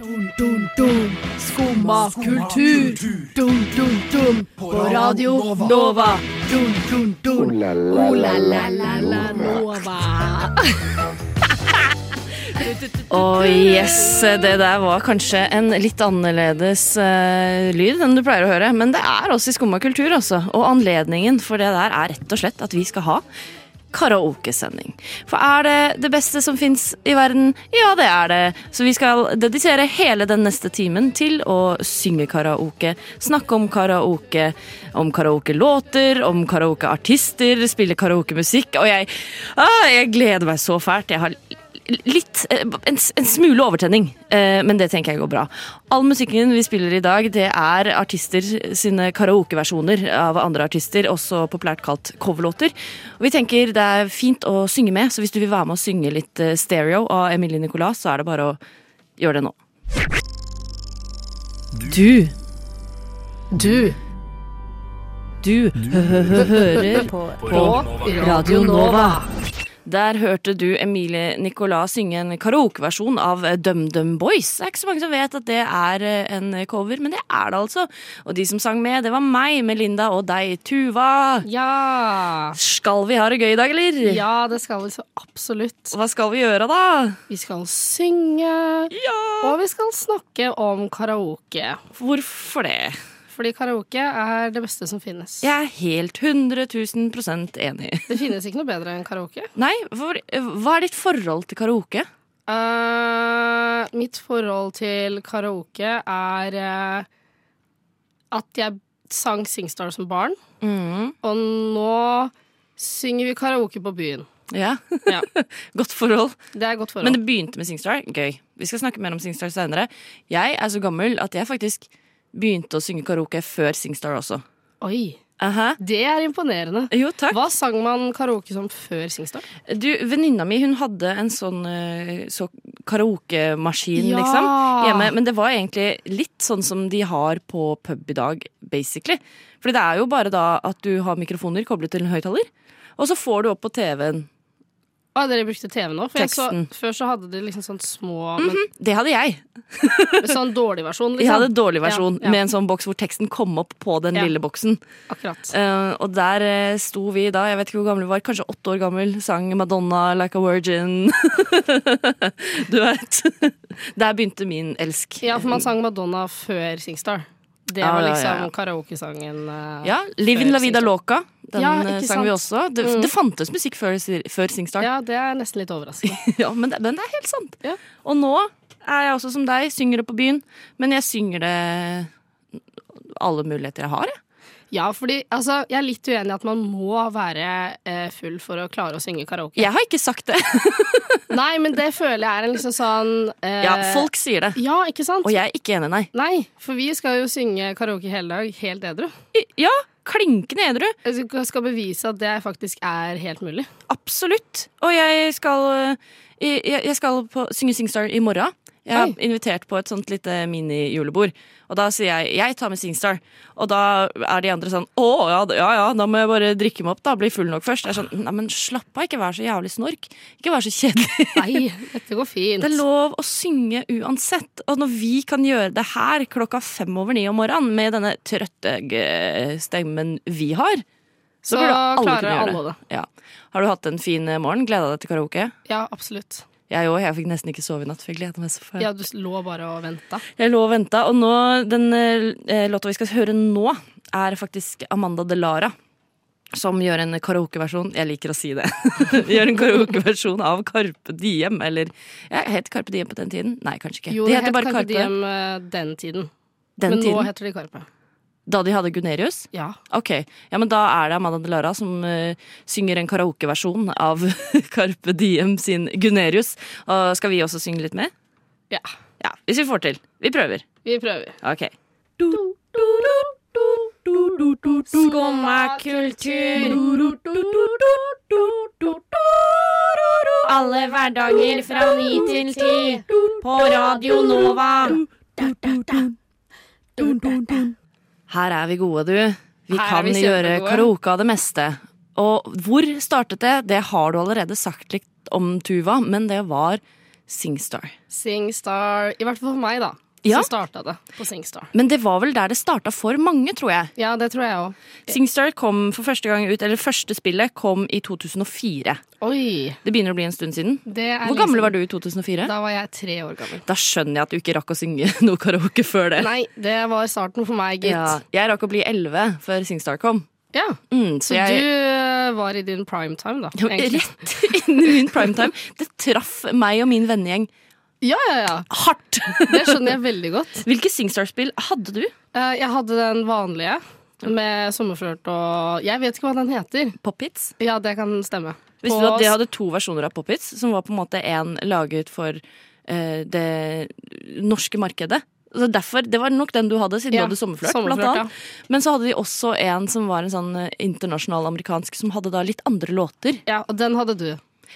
Dum, dum, dum. Skumma kultur. Dum, dum, dum. På Radio Nova. Dum, dum, dum. Ooh la la Ooh la la la la la la Nova. Å yes, det der var kanskje en litt annerledes eh, lyd enn du pleier å høre. Men det er også i Skumma kultur, altså. Og anledningen for det der er rett og slett at vi skal ha karaokesending. For er det det beste som fins i verden? Ja, det er det. Så vi skal dedisere hele den neste timen til å synge karaoke, snakke om karaoke, om karaokelåter, om karaokeartister, spille karaokemusikk. Og jeg, ah, jeg gleder meg så fælt. Jeg har litt eh, en, en smule overtenning, eh, men det tenker jeg går bra. All musikken vi spiller i dag, det er artister sine karaokeversjoner av andre artister, også populært kalt coverlåter. Og vi tenker det er fint å synge med, så hvis du vil være med å synge litt eh, stereo av Emilie Nicolas, så er det bare å gjøre det nå. Du Du. du hører på Radio Nova. Der hørte du Emilie Nicolas synge en karaokeversjon av DumDum Boys. Det er ikke så mange som vet at det er eh, en cover, men det er det altså. Og de som sang med, det var meg, Melinda, og deg, Tuva. Ja! Skal vi ha det gøy i dag, eller? Ja, det skal vi så absolutt. Hva skal vi gjøre, da? Vi skal synge, og vi skal snakke om karaoke. Hvorfor det? Fordi karaoke er det beste som finnes. Jeg er helt 100 000 enig. Det finnes ikke noe bedre enn karaoke. Nei, for, hva er ditt forhold til karaoke? Eh, mitt forhold til karaoke er eh, at jeg sang Singstar som barn, Mm, og nå synger vi karaoke på byen. ja. Ja. Godt forhold. Det er godt forhold. Men det begynte med Singstar. Gøy. Vi skal snakke mer om Singstar senere. Jeg er så gammel at jeg faktisk begynte å synge karaoke før Singstar også. Oi, Aha. det er imponerende. Jo, takk. Hva sang man karaoke som før Singstar? Du, Venninna mi hun hadde en sånn eh, så karaokemaskin Ja. liksom, hjemme. Men det var egentlig litt sånn som de har på pub i dag, basically. Fordi det er jo bare da at du har mikrofoner koblet til en høyttaler, og så får du opp på TV-en Å, dere brukte TV nå? For jeg så, Teksten. før så hadde de liksom sånn små Det hadde jeg. men, Sånn dårlig versjon, Jeg liksom. hadde en dårlig versjon Ja, ja. med en sånn boks hvor teksten kom opp på den Ja. lille boksen. Akkurat. Eh, og der eh, sto vi da, jeg vet ikke hvor gamle vi var, kanskje åtte år gammel, sang Madonna, Like a Virgin. du vet. Der begynte min elsk. Ja, for man sang Madonna før Singstar. Det Ja, var ja, liksom ja. karaokesangen. eh, Ja, Livin Før La Vida Singstar. Loca, den Ja, eh, ikke sang vi også. Det, Mm. det fantes musikk før, før Singstar, ja. ja, det er nesten litt overraskende. men, det, men det er helt sant. Ja. Og nå er jeg også som deg, synger det på byen, men jeg synger det alle muligheter jeg har. Jeg. Ja, fordi altså, jeg er litt uenig i at man må være eh, full for å klare å synge karaoke. jeg har ikke sagt det. Eh. Nei, men det føler jeg er en liksom sånn eh, Ja, folk sier det. Ja, ikke sant? Og jeg er ikke enig, nei. Nei, for vi skal jo synge karaoke hele dag, helt edru. I- Ja, klinkende edru. Jeg skal- skal bevise at det faktisk er helt mulig. Absolutt. Og jeg skal, eh, jeg, jeg skal på, synge Singstar i morgen. Jeg har Oi. invitert på et sånt lite mini-julebord. Og da sier jeg jeg tar med Singstar. Og da er de andre sånn å ja, d- ja ja, da må jeg bare drikke meg opp, da. Bli full nok først. Jeg er sånn nei, men slapp av, ikke vær så jævlig snork. Ikke vær så kjedelig. Nei, dette går fint. Det er lov å synge uansett. Og når vi kan gjøre det her klokka fem over ni om morgenen med denne trøttestemmen vi har, så, Så burde alle klarer kunne gjøre alle det. Ja. Har du hatt en fin eh, morgen? Gleda deg til karaoke? Ja, absolutt. Jeg òg. Jeg fikk nesten ikke sove i natt. for Jeg gleda meg så fælt. Ja, du lå bare og venta. Jeg lå og venta, og nå, den eh, låta vi skal høre nå, er faktisk Amanda Delara. Som gjør en karaokeversjon Jeg liker å si det. gjør en karaokeversjon av Karpe Diem, eller ja, Het Karpe Diem på den tiden? Nei, kanskje ikke. Jo, de det heter het bare Carpe Karpe Diem Diem eh, den tiden. den Men nå tiden. heter de Karpe. Da de hadde Gunerius? Ja. Ok, ja, men Da er det Amanda Delara som eh, synger en karaokeversjon av Carpe Diem sin Gunerius. Og skal vi også synge litt med? Ja. Ja, Hvis vi får til. Vi prøver. Vi prøver. Ok. Skumma kultur. Alle hverdager fra ni til ti på Radio Nova. Her er vi gode, du. Her Vi er kan vi gjøre kjempegode. karaoke av det meste. Og hvor startet det? Det har du allerede sagt litt om, Tuva, men det var Singstar. Singstar I hvert fall for meg, da. Ja. Så starta det på Singstar. Men det var vel der det starta for mange, tror jeg. Ja, det tror jeg òg. Singstar kom for første gang ut, eller første spillet kom i 2004. Oi! Det begynner å bli en stund siden. Det er liksom Hvor gammel var du i 2004? Da, Da var jeg tre år gammel. skjønner jeg at du ikke rakk å synge noe karaoke før det. Nei, det var starten for meg, gitt. ja, Ja. jeg rakk å bli 11 før Singstar kom. Mm, så Så du jeg, eh, var i din prime time, da. egentlig. Rett inn i min primetime. Det traff meg og min vennegjeng Ja, ja, ja. hardt. Det skjønner jeg veldig godt. Hvilke Singstar-spill hadde du? Eh, Jeg hadde den vanlige med sommerflørt og Jeg vet ikke hva den heter. Pop-hits? Ja, det kan stemme. Visste du På- at de hadde to versjoner av Pop-Hits, som var på en måte en laget for eh, det norske markedet? Så derfor, Det var nok den du hadde, siden Ja, du hadde sommerflørt. sommerflørt, blant annet. Men så hadde de også en som var en sånn eh, internasjonal amerikansk, som hadde da litt andre låter. Ja, og den hadde du.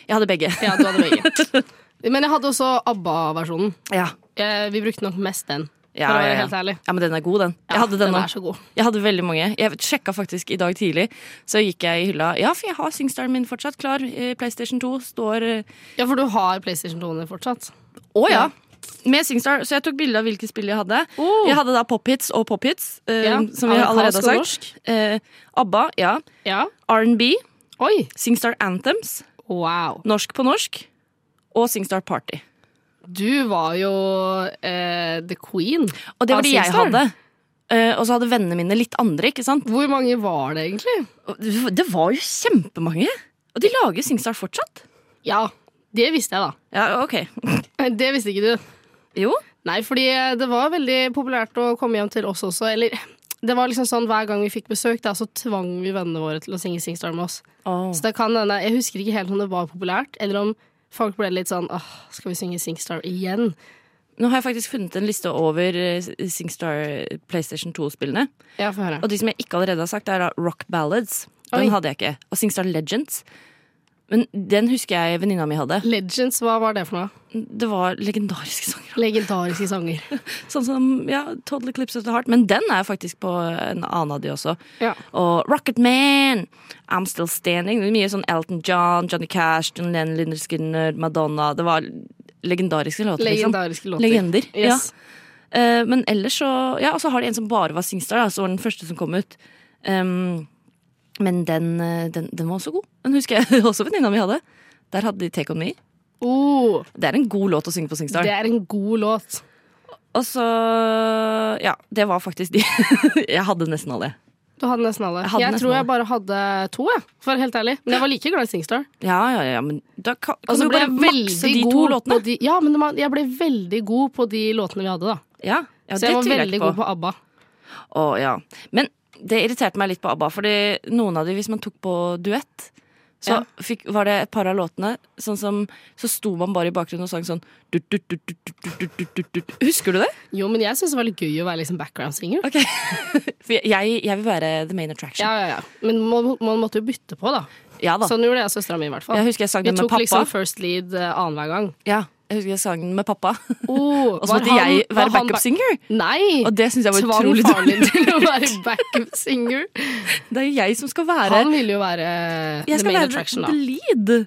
Jeg hadde begge. Ja, du hadde begge. Men jeg hadde også ABBA-versjonen. Ja, Eh, Vi brukte nok mest den, ja, for å ja, være ja. helt ærlig. ja men den er god, den. Jeg hadde den den nå. er så god. Jeg hadde veldig mange. Jeg sjekka faktisk i dag tidlig. Så gikk jeg i hylla. Ja, for jeg har Singstaren min fortsatt klar. Eh, PlayStation 2 står eh, Ja, for du har PlayStation 2-ene fortsatt. Å ja! Med Singstar. Så jeg tok bilde av hvilke spill jeg hadde. Oh. Jeg hadde da Pophits og Pophits, eh, Ja, som vi allerede har amerikansk sagt. Eh, ABBA, ja. Ja. R&B. Oi! Singstar Anthems. Wow. Norsk på norsk. Og Singstar Party. Du var jo eh, the queen. Og det Av var de jeg Singstar? hadde. Eh, og så hadde vennene mine litt andre, ikke sant. Hvor mange var det egentlig? Og det- Det var jo kjempemange! Og de lager Singstar fortsatt. Ja, det visste jeg, da. Eh, Ja, ok. Det visste ikke du. Jo. Nei, fordi eh, det var veldig populært å komme hjem til oss også. Eller det var liksom sånn hver gang vi fikk besøk, da, så tvang vi vennene våre til å synge Singstar med oss. Så det kan hende Jeg husker ikke helt om det var populært, eller om folk ble litt sånn åh, skal vi synge Singstar igjen? Nå har jeg faktisk funnet en liste over eh, Singstar eh, PlayStation 2-spillene. Ja, få høre. Og de som jeg ikke allerede har sagt, er da Rock Ballads. Den Oi. hadde jeg ikke. Og Singstar Legends. Men den husker jeg venninna mi hadde. Legends, hva var det for noe? Det var legendariske sanger. Legendariske sanger. Sånn som ja, Total Eclipse of the Heart. Men den er faktisk på en annen av de også. Ja. Og Rocket Man, I'm Still Standing. Det er mye sånn Elton John, Johnny Cash, John Lennon, Linda Skinner, Madonna. Det var legendariske låter, liksom. Legendariske låter. Legender. ja. Yes. Eh, men ellers så Ja, og så har de en som bare var Singstar, da, så var den første som kom ut. Ehm, men den, eh, den, den var også god. Den husker jeg også venninna mi hadde. Der hadde de Take On Me. Oh, Det er en god låt å synge på Singstar. det er en god låt. Og så Ja, det var faktisk de. jeg hadde nesten alle. Du hadde nesten alle. Jeg Jeg, hadde nesten tror alle. jeg bare hadde to, jeg, for å være helt ærlig. Men jeg var like glad i Singstar. Ja, ja, ja, men da kan, kan Og så du ble bare jeg makse veldig de to god låtene. på de Ja, men det var- jeg ble veldig god på de låtene vi hadde, da. Ja, ja, så jeg det var tviler jeg veldig ikke på. god på ABBA. Å, ja. Men det irriterte meg litt på ABBA, fordi noen av de, hvis man tok på duett, så Ja. fikk, var det et par av låtene sånn som Så sto man bare i bakgrunnen og sang sånn du, du, du, du, du, du, du, du, du, du. Husker du det? Jo, men jeg syns det var litt gøy å være liksom background singer. Ok. For jeg, jeg vil være the main attraction. Ja, ja, ja. Men man, man måtte jo bytte på, da. Ja, da. Sånn gjorde jeg og søstera mi, i hvert fall. Jeg husker jeg sang Vi den med tok pappa. liksom first lead eh, annenhver gang. Ja, jeg husker jeg sang den med pappa. Oh, Og så måtte jeg være backup singer. Nei! Og det syns jeg var Tvang utrolig faren dårlig. din til å være backup singer. Det er jo jeg som skal være Han ville jo være eh, Jeg the skal main være attraction, the da. lead.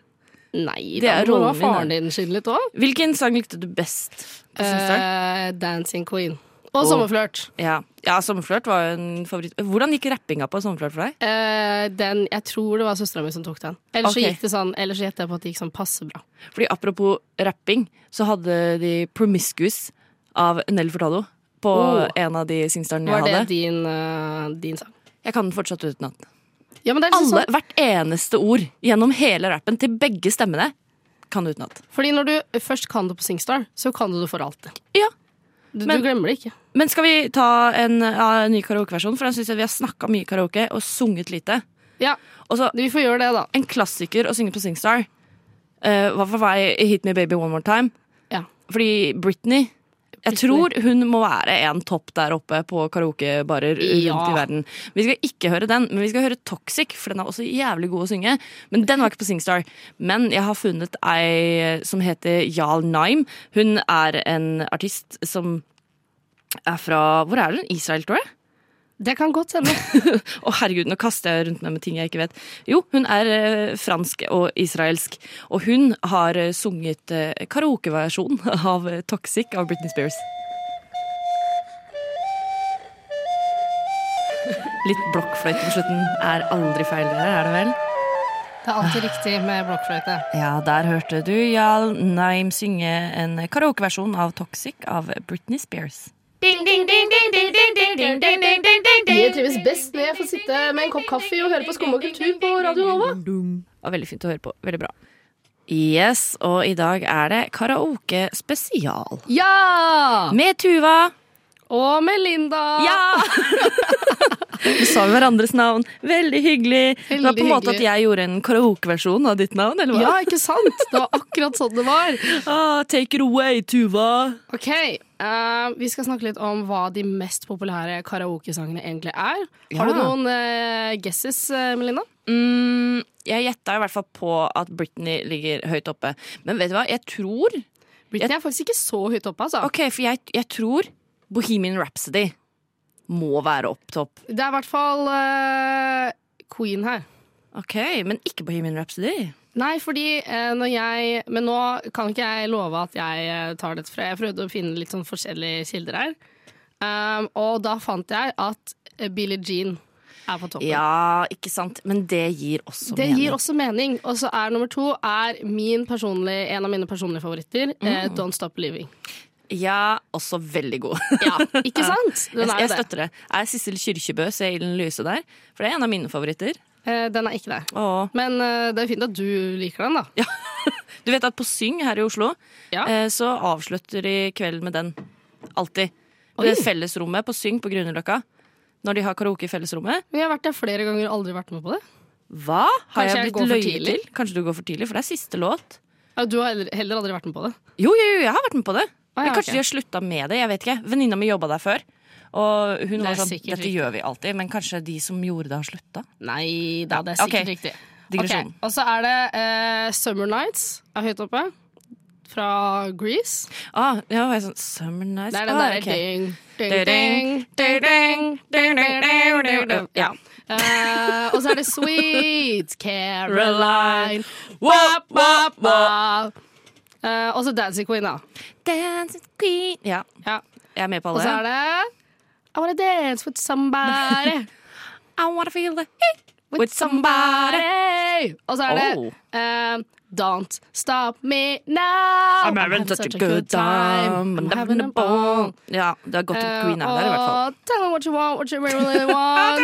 Nei, Det da er må rollen var min, faren din skylde litt òg. Hvilken sang likte du best? Eh, på Singstar? Dancing Queen. Og Sommerflørt. Ja, ja Sommerflørt var jo en favoritt. Hvordan gikk rappinga på Sommerflørt for deg? Eh, den, jeg tror det var søstera mi som tok den. Ellers Ok. så gikk det sånn Ellers så gjetter jeg på at det gikk sånn passe bra. Fordi Apropos rapping, så hadde de Promiscuous av Nell Furtado på Oh. en av de singstarene jeg Var det hadde. din, eh, din sang? Jeg kan den fortsatt utenat. Ja, men det er liksom Alle, sånn, Hvert eneste ord gjennom hele rappen til begge stemmene kan du utenat. fordi når du først kan det på Singstar, så kan du det for alltid. Ja. Du, Men- du glemmer det ikke. Men skal vi ta en, ja, en ny karaokeversjon? For jeg syns vi har snakka mye karaoke og sunget lite. Ja, Og så Vi får gjøre det, da. en klassiker å synge på Singstar eh, var for meg Hit Me Baby One More Time. Ja. Fordi Britney Jeg Britney. tror hun må være en topp der oppe på karaokebarer rundt Ja. i verden. Vi skal ikke høre den, men vi skal høre Toxic, for den er også jævlig god å synge. Men den var ikke på Singstar. Men jeg har funnet ei som heter Jarl Naim. Hun er en artist som er fra Hvor er hun? Israel, tror jeg? Det kan godt hende. Å herregud, nå kaster jeg rundt meg med ting jeg ikke vet. Jo, hun er eh, fransk og israelsk, og hun har eh, sunget eh, karaokeversjonen av eh, Toxic av Britney Spears. Litt blokkfløyte på slutten er aldri feil, det her, er det vel? Det er alltid riktig med blokkfløyte. Ja, der hørte du Jarl Naim synge en karaokeversjon av Toxic av Britney Spears. Ding, ding, ding, ding, ding, ding, ding, ding, ding, ding, ding, ding, ding. Jeg trives best når jeg får sitte med en kopp kaffe og høre på Skum og kultur på Radio Nova. Det var veldig fint å høre på. Veldig bra. Yes, og i dag er det karaoke spesial. Ja! Med Tuva. Og Melinda. Vi sa hverandres navn. Veldig hyggelig. det var på en Veldig måte at hyggelig. jeg gjorde en karaokeversjon av ditt navn, eller hva? Ja, ikke sant? Det var akkurat sånn det var. Ah, take it away, Tuva. Ok, eh, vi skal snakke litt om hva de mest populære karaokesangene egentlig er. Har du Ja. noen eh, guesses, eh, Melinda? Mm, jeg gjetta i hvert fall på at Britney ligger høyt oppe. Men vet du hva, jeg tror Britney er faktisk ikke så høyt oppe, altså. Ok, for jeg, jeg tror Bohemian Rhapsody må være opp topp. Det er i hvert fall eh, Queen her. Ok, Men ikke Bohemian Rhapsody. Nei, fordi eh, når jeg Men nå kan ikke jeg love at jeg eh, tar dette fra. Jeg prøvde å finne litt sånn forskjellige kilder her. Um, og da fant jeg at eh, Billie Jean er på toppen. Ja, ikke sant? Men det gir også Det mening. gir også mening. Og så er nummer to er min personlige, en av mine personlige favoritter. Eh, Don't Stop Believing. Ja, også veldig god. Ja, ikke sant? Den Jeg, er jeg jo det. støtter det. Er Sissel Kyrkjebø ser Ilden Lyse der? For det er en av mine favoritter. Eh, den er ikke der. Og Men eh, det er fint at du liker den, da. du vet at på Syng her i Oslo, Ja. eh, så avslutter de kvelden med den. Alltid. Oi. Det fellesrommet på Syng på Grünerløkka. Når de har karaoke i fellesrommet. Men jeg har vært der flere ganger og aldri vært med på det. Hva? Har Kanskje jeg jeg blitt går for løyet tidlig? til? Kanskje du går for tidlig, for det er siste låt. Ja, Du har heller, heller aldri vært med på det. Jo, jo, jo, jeg har vært med på det. Ah, ja, men kanskje ok. de har slutta med det. jeg vet ikke. Venninna mi jobba der før. Og hun Det var er sånn, sikkert dette riktig. gjør vi alltid. Men kanskje de som gjorde det, har slutta? Nei da, det er ok. sikkert riktig. Digresjon. Ok, Og så er det eh, Summer Nights er høyt oppe. Fra Grease. Ah, ja, var jeg sånn, Summer nights Det er den ah, der ok. ding, ding, ding, Ding, ding, ding, ding, ding, ding, ding, ding. Ja. Eh, og så er det Sweet Caroline. Wap, wap, wap. Eh, og så Dancing Queen, da. Dancing queen. Ja, Ja. jeg er med på Og så er alle. det I wanna dance with somebody. I wanna feel the heat with somebody. somebody. Og så er det Oh. eh, Don't stop me now. I'm having such a good time. I'm having a ball. Ja, det har gått litt queen av der i hvert fall. Eh, Og tell me what you want, what you really Uh, want.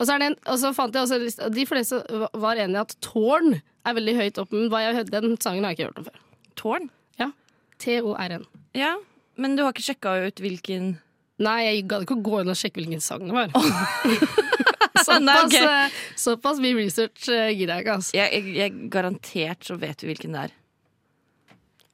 Og så, er det en, og så fant jeg også en liste- De fleste var enige i at Tårn er veldig høyt oppe, men hva jeg, har hørt- den sangen har jeg ikke hørt om før. Tårn? Ja, T-O-R-N. Ja, men du har ikke sjekka ut hvilken Nei, jeg gadd ikke å gå inn og sjekke hvilken sang det var. Nei, såpass, ok. eh, såpass mye research eh, gidder jeg ikke, altså. jeg, jeg, jeg Garantert så vet du hvilken det er.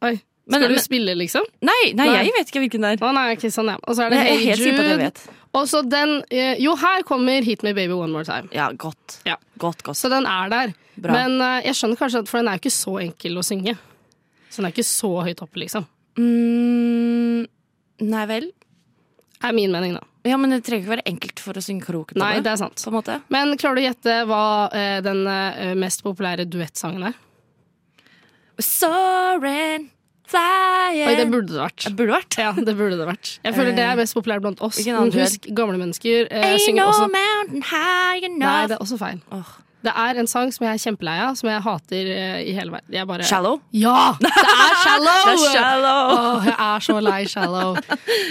Oi. Men- Skal du men- spille, liksom? Nei, nei, Nei. jeg vet ikke hvilken det er. Å nei, ok, sånn, ja. Og så er det Jeg er Hey helt sikker på at jeg Jude. vet. Og så den eh, Jo, her kommer Hit Me Baby One More Time. Ja, godt. Ja. Godt, godt. Så den er der. Bra. Men eh, jeg skjønner kanskje at For den er jo ikke så enkel å synge. Så den er ikke så høyt oppe, liksom. Mm, nei vel. Er min mening, da. Ja, men det trenger ikke være enkelt for å synge karaoke på Nei, det. det er sant. På en måte. Men klarer du å gjette hva eh, den eh, mest populære duettsangen er? Soaring, flying Oi, det burde det vært. Det burde vært. Ja, det burde det vært. Jeg føler det er mest populært blant oss. hvilken Eh, annen Men Husk, gamle mennesker eh, Ain't synger no også mountain high Nei, enough. det er også feil. Åh. Det er en sang som jeg er kjempelei av, som jeg hater eh, i hele verden. Jeg bare Shallow. Ja! Det er shallow! Det er shallow. Åh, jeg er så lei shallow.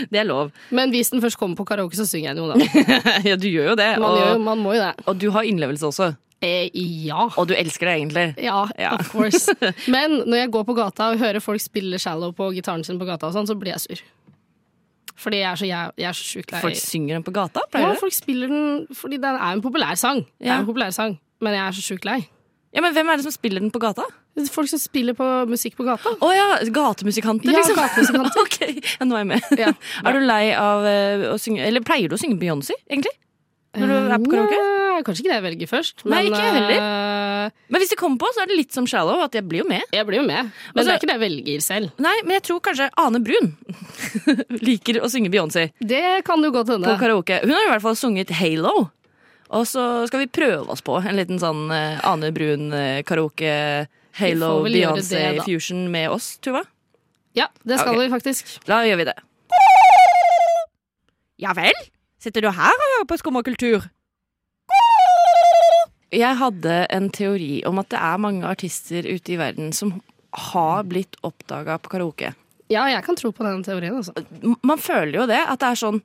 Det er lov. Men hvis den først kommer på karaoke, så synger jeg den jo, da. ja, du gjør jo det. Man, og, gjør, jo- man må jo det. og du har innlevelse også. Eh, ja. Og du elsker det egentlig. Ja, Ja. of course. Men når jeg går på gata og hører folk spille shallow på gitaren sin på gata, og sånn, så blir jeg sur. Fordi jeg er så, jæv- jeg er så sjukt lei. Folk synger den på gata, ja, pleier du? folk spiller den fordi den er en populær sang. Det Ja. er en populær sang, men jeg er så sjukt lei. Ja, men hvem er det som spiller den på gata? Folk som spiller på musikk på gata. Å ja, gatemusikanter, Ja, liksom. gatemusikanter. ok, ja, nå er jeg med. Ja. er du lei av eh, å synge Eller pleier du å synge Beyoncé, egentlig? Når du er på karaoke? Nei, er kanskje ikke det jeg velger først. Nei, ikke jeg heller. Men hvis det kommer på, så er det litt som shallow, at jeg blir jo med. jeg blir jo med. Men Altså- det er ikke det jeg velger selv. Nei, men jeg tror kanskje Ane Brun liker å synge Beyoncé Det kan jo godt på hende. karaoke. Hun har i hvert fall sunget Halo. Og så skal vi prøve oss på en liten sånn eh, Ane Brun eh, karaoke Halo Vi får vel gjøre det, da. Beyoncé-fusion med oss, Tuva. Ja, det skal Ok. vi faktisk. Da gjør vi det. Ja vel? Sitter du her og hører på skummakultur? Jeg hadde en teori om at det er mange artister ute i verden som har blitt oppdaga på karaoke. Ja, jeg kan tro på den teorien, altså. M- Man føler jo det, at det er sånn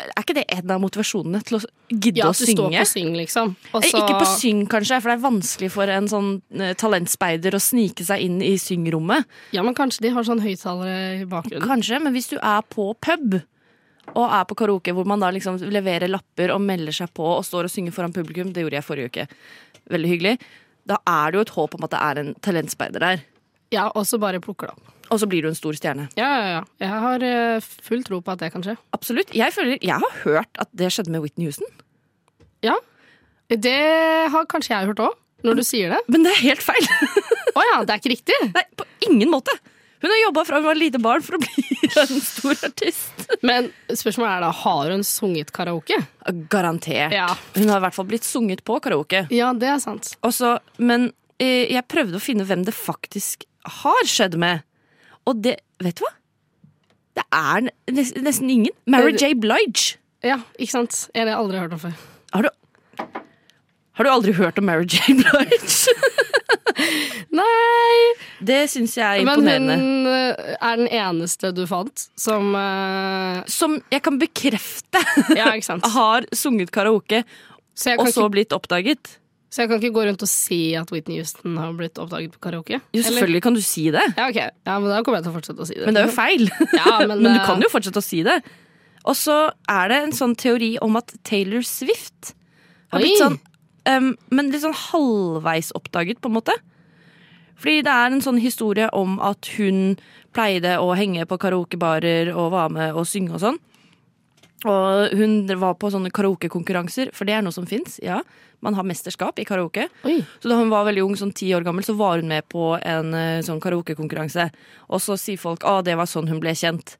Er ikke det en av motivasjonene til å s- gidde Ja, å at du står synge? på syng, liksom. Og Eh, så- Ikke altså- på syng, kanskje, for det er vanskelig for en sånn eh, talentspeider å snike seg inn i syngrommet. Ja, men kanskje de har sånn høyttalere i bakgrunnen. Kanskje, men hvis du er på pub og er på karaoke, hvor man da liksom leverer lapper og melder seg på og står og synger foran publikum, det gjorde jeg forrige uke, veldig hyggelig, da er det jo et håp om at det er en talentspeider der. Ja, og så bare plukker det opp. Og så blir du en stor stjerne. Ja, ja, ja. Jeg har eh, full tro på at det kan skje. Absolutt. Jeg, føler, jeg har hørt at det skjedde med Whitney Houston. Ja. Det har kanskje jeg hørt òg, når du sier det. Men det er helt feil! Å ja, det er ikke riktig! Nei, på ingen måte! Hun har jobba fra hun var lite barn for å bli en stor artist. Men spørsmålet er da, har hun sunget karaoke? Garantert. Ja. Hun har i hvert fall blitt sunget på karaoke. Ja, det er sant. Og så- men eh, jeg prøvde å finne hvem det faktisk har skjedd med. Og det Vet du hva? Det er n- nes- nesten ingen. Mary Er det- J. Blige. Ja, ikke sant? En jeg aldri har hørt om før. Har du, har du aldri hørt om Mary J. Blige? Nei! Det syns jeg er Men imponerende. hun eh, er den eneste du fant som eh, Som jeg kan bekrefte Ja, ikke sant? har sunget karaoke Så jeg, og kan så ikke, blitt oppdaget. så jeg kan ikke gå rundt og si at Whitney Houston har blitt oppdaget på karaoke? Jo, Eller? selvfølgelig kan du si det, Ja, ok. Ja, men da kommer jeg til å fortsette å si det. men det er jo feil. Ja, men, Men du eh, kan jo fortsette å si det. Og så er det en sånn teori om at Taylor Swift har blitt Oi. sånn em, Men litt sånn halvveis oppdaget, på en måte. Fordi det er en sånn historie om at hun pleide å henge på karaokebarer og var med og synge og sånn. Og hun var på sånne karaokekonkurranser, for det er noe som fins. Ja. Man har mesterskap i karaoke. Oi. Så da hun var veldig ung, sånn ti år gammel, så var hun med på en eh, sånn karaokekonkurranse. Og så sier folk at det var sånn hun ble kjent.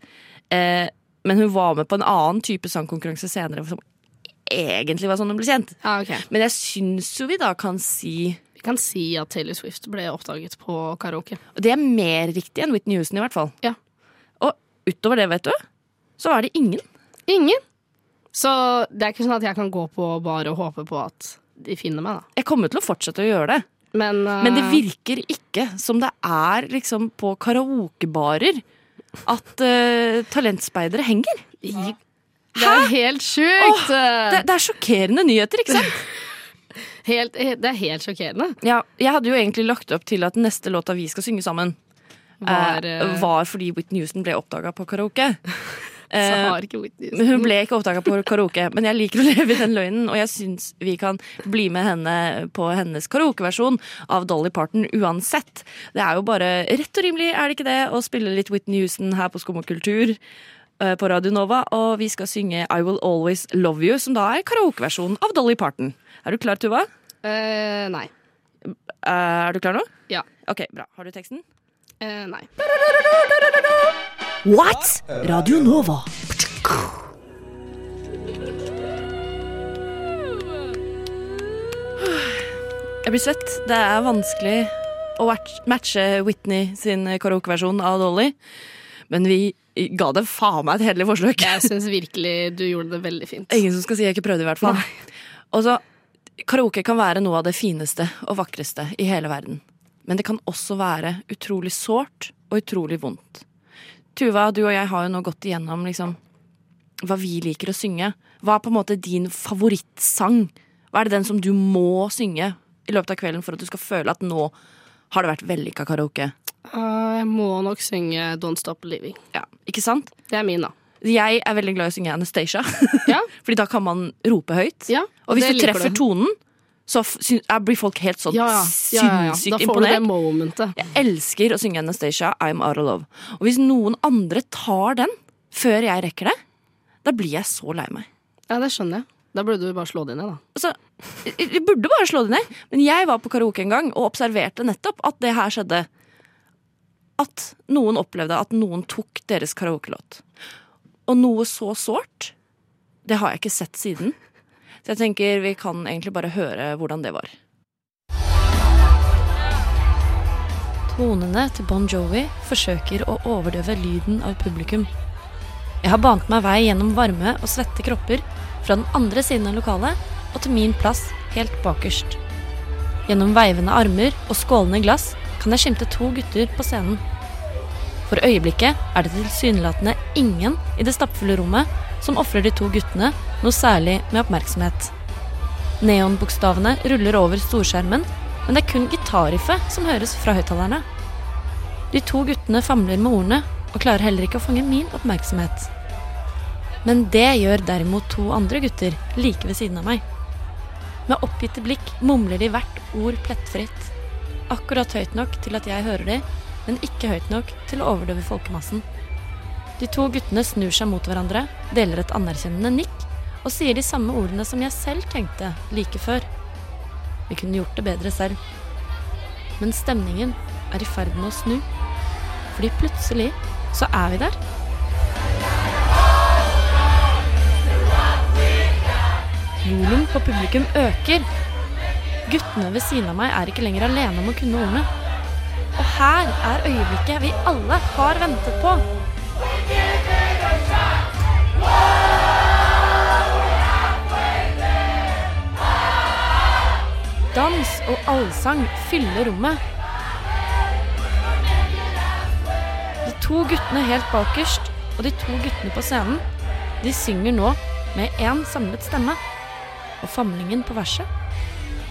Eh, men hun var med på en annen type sangkonkurranse senere som egentlig var sånn hun ble kjent. Ja, ok. Men jeg syns jo vi da kan si Vi kan si at Taylor Swift ble oppdaget på karaoke. Og det er mer riktig enn Whitney Houston, i hvert fall. Ja. Og utover det, vet du, så er det ingen. Ingen! Så det er ikke sånn at jeg kan gå på bar og håpe på at de finner meg, da. Jeg kommer til å fortsette å gjøre det. Men, eh, Men det virker ikke som det er liksom på karaokebarer at eh, talentspeidere henger. Det er jo helt sjukt! eh, Det, det er sjokkerende nyheter, ikke sant? Helt, he- det er helt sjokkerende. Ja, jeg hadde jo egentlig lagt opp til at neste låta vi skal synge sammen, Var, eh, eh, var fordi Whitney Houston ble oppdaga på karaoke. så Eh, har ikke Whitney men hun ble ikke oppdaga på karaoke, men jeg liker å leve i den løgnen, og jeg syns vi kan bli med henne på hennes karaokeversjon av Dolly Parton uansett. Det er jo bare rett og rimelig, er det ikke det, å spille litt Whitney Houston her på Skum og kultur eh, på Radio Nova, og vi skal synge I Will Always Love You, som da er karaokeversjonen av Dolly Parton. Er du klar, Tuva? Eh, nei. Eh, Er du klar nå? Ja. Ok, bra. Har du teksten? Eh, nei. What? Radio Nova. Jeg blir svett. Det er vanskelig å watch- matche Whitney sin karaokeversjon av Dolly. Men vi ga det faen meg et hederlig forsøk. Jeg syns virkelig du gjorde det veldig fint. Ingen som skal si jeg ikke prøvde, i hvert fall. Og så, Karaoke kan være noe av det fineste og vakreste i hele verden. Men det kan også være utrolig sårt og utrolig vondt. Tuva, du og jeg har jo nå gått igjennom liksom, hva vi liker å synge. Hva er på en måte din favorittsang? Hva er det den som du må synge i løpet av kvelden for at du skal føle at nå har det vært vellykka karaoke? Eh, jeg må nok synge Don't Stop Living. Ja, ikke sant? Det er min, da. Jeg er veldig glad i å synge Anastacia, Ja, Fordi da kan man rope høyt. ja. Og hvis det du liker treffer tonen, så f- syn- er- blir folk helt sånn ja, ja. Ja, ja, ja. Da sinnssykt får du det imponert. momentet. Jeg elsker å synge Anastacia, I'm out of love. Og hvis noen andre tar den før jeg rekker det, da blir jeg så lei meg. Ja, det skjønner jeg. Da burde du bare slå det ned, da. Altså, jeg burde bare slå det ned, men jeg var på karaoke en gang og observerte nettopp at det her skjedde. At noen opplevde at noen tok deres karaokelåt. Og noe så sårt, det har jeg ikke sett siden. Så jeg tenker vi kan egentlig bare høre hvordan det var. Tonene til Bon Jovi forsøker å overdøve lyden av publikum. Jeg har bant meg vei gjennom varme og svette kropper fra den andre siden av lokalet og til min plass helt bakerst. Gjennom veivende armer og skålende glass kan jeg skimte to gutter på scenen. For øyeblikket er det tilsynelatende ingen i det stappfulle rommet som ofrer de to guttene noe særlig med oppmerksomhet. Neonbokstavene ruller over storskjermen, men det er kun gitarriffet som høres fra høyttalerne. De to guttene famler med ordene og klarer heller ikke å fange min oppmerksomhet. Men det gjør derimot to andre gutter like ved siden av meg. Med oppgitte blikk mumler de hvert ord plettfritt. Akkurat høyt nok til at jeg hører de, men ikke høyt nok til å overdøve folkemassen. De to guttene snur seg mot hverandre, deler et anerkjennende nikk og sier de samme ordene som jeg selv tenkte like før. Vi kunne gjort det bedre selv. Men stemningen er i ferd med å snu. Fordi plutselig så er vi der. Volum på publikum øker. Guttene ved siden av meg er ikke lenger alene om å kunne ordene. Og her er øyeblikket vi alle har ventet på. Dans og allsang fyller rommet. De to guttene helt bakerst og de to guttene på scenen, de synger nå med én samlet stemme. Og famlingen på verset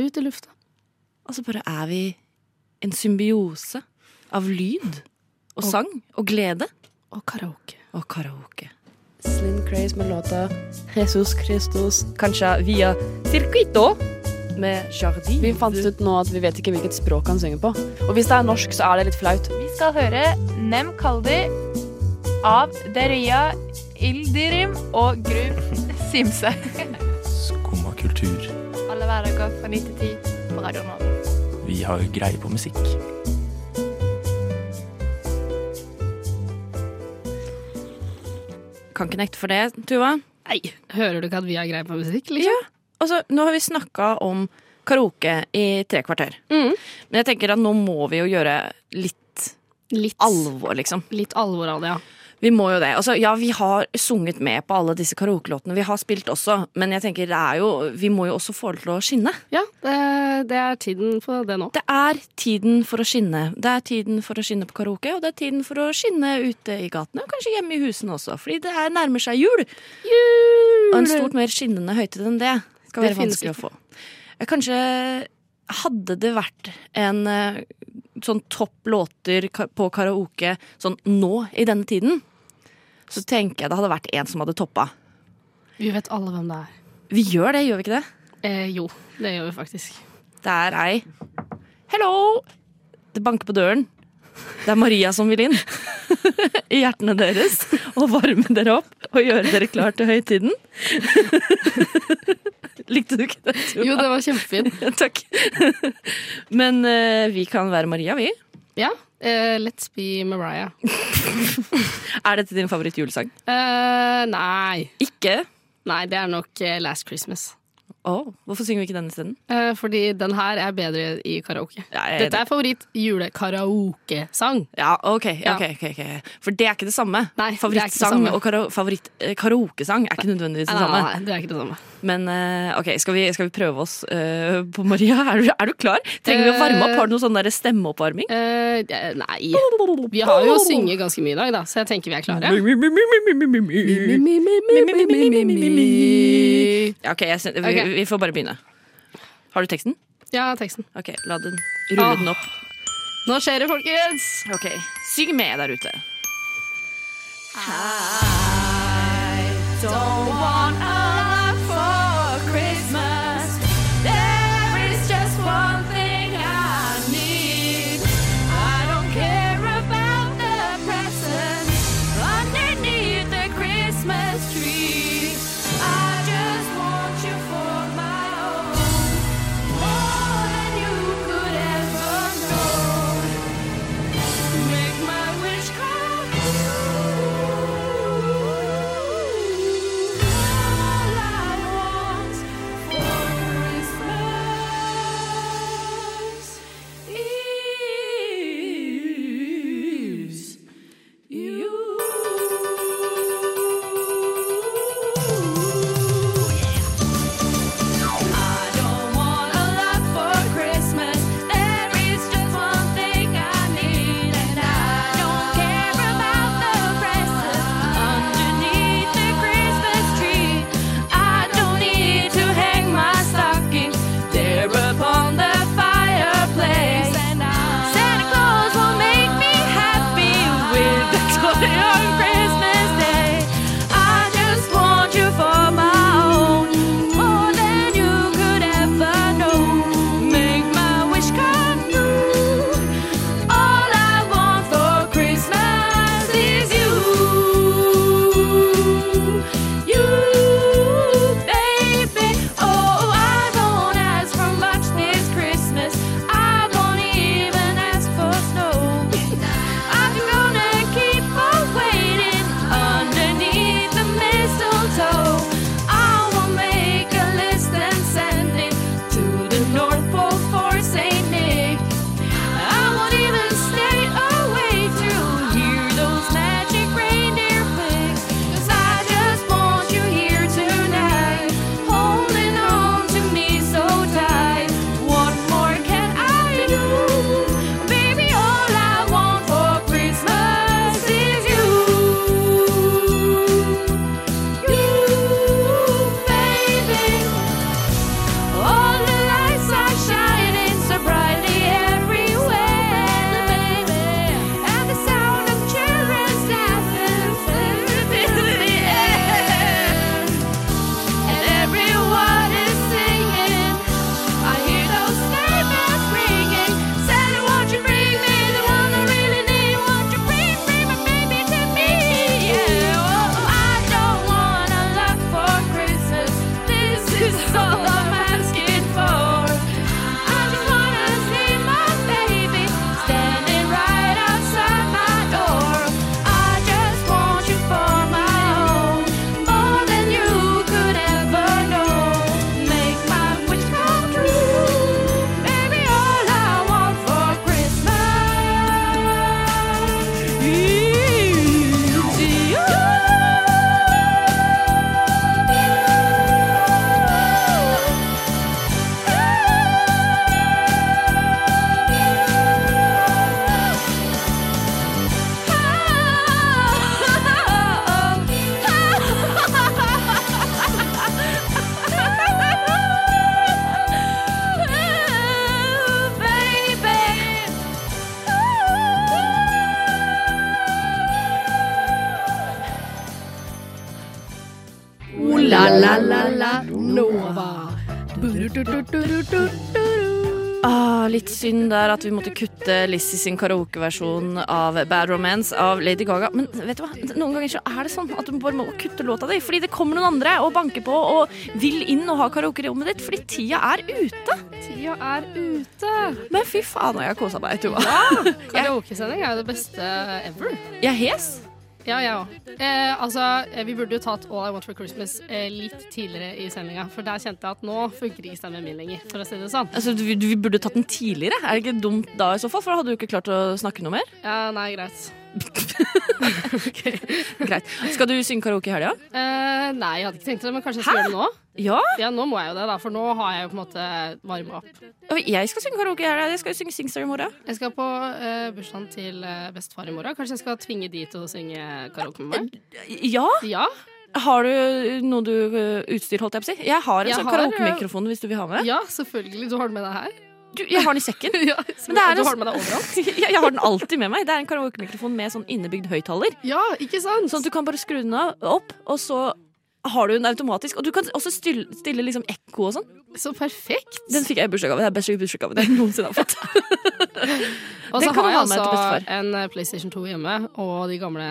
ut i lufta. Og så bare er vi en symbiose av lyd og sang og glede Og karaoke. og karaoke. Slim Craze med låta Jesus Christus, kanskje via Circuito med Jardin. Vi fant ut nå at vi vet ikke hvilket språk han synger på. Og hvis det er norsk, så er det litt flaut. Vi skal høre Nem Kaldi av Deria Ildirim og Gru Simse. Skumma kultur. Alle hverdager fra 9 til 10 på Radio Nova. Vi har greie på musikk. Kan ikke nekte for det, Tuva. Nei, hører du ikke at vi har greie på musikk? Liksom? Altså, nå har vi snakka om karaoke i tre kvarter. Mm. Men jeg tenker at nå må vi jo gjøre litt Litt, alvor, liksom. litt alvor av det, ja. Vi må jo det. Altså, ja, vi har sunget med på alle disse karaokelåtene vi har spilt også, men jeg tenker det er jo, vi må jo også få det til å skinne. Ja, det, det er tiden for det nå. Det er tiden for å skinne. Det er tiden for å skinne på karaoke, og det er tiden for å skinne ute i gatene, og kanskje hjemme i husene også, fordi det er, nærmer seg jul. Og en stort mer skinnende høytid enn det skal Det være finnes vanskelig å få. Eh, Kanskje hadde det vært en eh, sånn topp låter ka- på karaoke sånn nå i denne tiden, så tenker jeg det hadde vært en som hadde toppa. Vi vet alle hvem det er. Vi gjør det, gjør vi ikke det? Eh, jo, det gjør vi faktisk. Det er ei Hello! Det banker på døren. Det er Maria som vil inn. I hjertene deres. Og varme dere opp og gjøre dere klar til høytiden. Likte du ikke det? Tuva? Jo, det var kjempefint. Takk. Men eh, vi kan være Maria, vi. Ja, eh, Let's be Mariah. Er dette din favorittjulesang? Eh, nei. Ikke. nei, det er nok eh, Last Christmas. Å, hvorfor synger vi ikke den isteden? Eh, Fordi den her er bedre i karaoke. Ja, eh, jeg er Dette er favoritt-julekaraokesang. Ja, ok, ja. Ja. ok, ok, ok. For det er ikke det samme. Nei, det er ikke det Favorittsang samme. og kara favoritt eh, karaokesang er ikke nødvendigvis det samme. Nei, det er ikke det samme. Men eh, ok, skal vi, skal vi prøve oss eh, på Maria? Er du, er du klar? Trenger vi å varme opp? Har du noe sånn der stemmeoppvarming? Eh, det- nei. Vi har jo synget ganske mye i dag, da, så jeg tenker vi er klare. Ja, ok, jeg, syn- vi, Ok. vi får bare begynne. Har du teksten? Ja, teksten. Ok, la den rulle Åh. den opp. Nå skjer det, folkens! Ok, Syng med der ute. Oh, oh, O-la-la-la-la Nova. Ah, litt synd der at vi måtte kutte Lizzie sin karaokeversjon av Bad Romance av Lady Gaga. Men vet du hva? noen ganger så er det sånn at du bare må kutte låta di. Fordi det kommer noen andre og banker på og vil inn og ha karaokerommet ditt. Fordi tida er ute. Tida er ute. Men fy faen, og jeg har kosa meg. Tuva. Karaokesending er jo det beste ever. Jeg er hes. Ja, jeg òg. Eh, altså, eh, vi burde jo tatt All I Want for Christmas eh, litt tidligere i sendinga, for der kjente jeg at nå funker ikke stemmen min lenger, for å si det sånn. Altså, du, du, vi burde tatt den tidligere. Er det ikke dumt da i så fall? For da hadde du ikke klart å snakke noe mer. Ja, nei, greit. Greit. Skal du synge karaoke i helga? Eh, nei, jeg hadde ikke tenkt det, men kanskje jeg skal gjøre det nå? Ja. Ja, nå må jeg jo det, da, for nå har jeg jo på en måte varma opp. Og Jeg skal synge karaoke i helga. Jeg skal jo synge Singstar i morgen. Jeg skal på eh, bursdagen til eh, bestefar i morgen. Kanskje jeg skal tvinge de til å synge karaoke med meg? Ja? Ja. Har du eh, noe du, ø, utstyr, holdt jeg på å si? Jeg har en Jeg sånn har, ø, karaokemikrofon hvis du vil ha med. Ja, selvfølgelig. Du har den med deg her? Du, jeg har den i sekken. ja, Men det er du en- har den med deg overalt? Jeg, jeg har den alltid med meg. Det er en karaokemikrofon med sånn innebygd høyttaler. Ja, ikke sant? Sånn at du kan bare skru den av, opp, og så har du den automatisk. Og du kan også stille, stille liksom ekko og sånn. Så perfekt. Den fikk jeg i bursdagsgave. Det er beste bursdagsgave jeg noensinne har fått. Og Den så kan har man jeg ha med til altså bestefar. en eh, PlayStation 2 hjemme og de gamle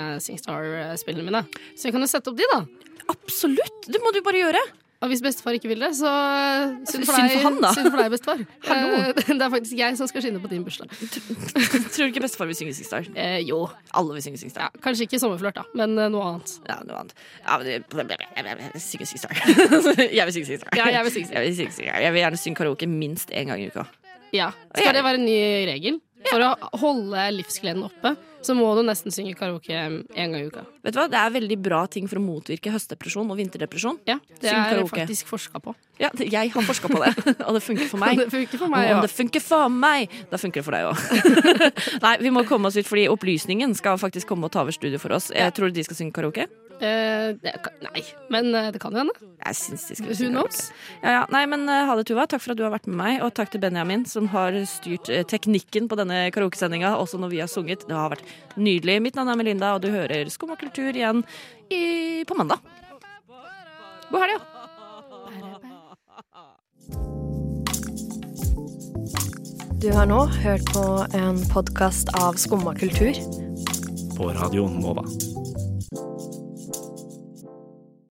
Singstar-spillene mine. Så jeg kan jo sette opp de, da. Absolutt! Det må du bare gjøre. Og hvis bestefar ikke vil det, så eh, synd for Synd deg, for han, da. Synd for deg bestefar. Hallo. Eh, Det er faktisk jeg som skal skinne på din bursdag. Tror du ikke bestefar vil synge Singstar? Eh, jo. Alle vil synge Singstar. Ja, kanskje ikke sommerflørt, da, men eh, noe annet. Ja, noe annet. Ja, men det- synge Singstar. Jeg vil synge Singstar. Ja, jeg vil synge Singstar. Jeg vil, synge Singstar. jeg vil gjerne synge karaoke minst én gang i uka. Ja. Skal det være en ny regel? For å holde livsgleden oppe, så må du nesten synge karaoke en gang i uka. Vet du hva? Det er veldig bra ting for å motvirke høstdepresjon og vinterdepresjon. Ja, Det Syng er karaoke. faktisk forska på. Ja, det- jeg har forska på det, og det funker for meg. Det funker for meg, Og om ja. det funker for meg, da funker det for deg òg. Nei, vi må komme oss ut, fordi opplysningen skal faktisk komme og ta over studio for oss. Jeg tror du de skal synge karaoke? Eh, det kan- Nei, men eh, det kan jo hende. Jeg syns de skal Who synge karaoke. knows? Ja, ja. Nei, men eh, ha det, Tuva. Takk for at du har vært med meg. Og takk til Benjamin, som har styrt eh, teknikken på denne karaokesendinga, også når vi har sunget. Det har vært nydelig. Mitt navn er Melinda, og du hører Skum og kultur igjen i, på mandag. God helg, ja. Du har nå hørt på en podkast av Skumma kultur. På Radio Nova.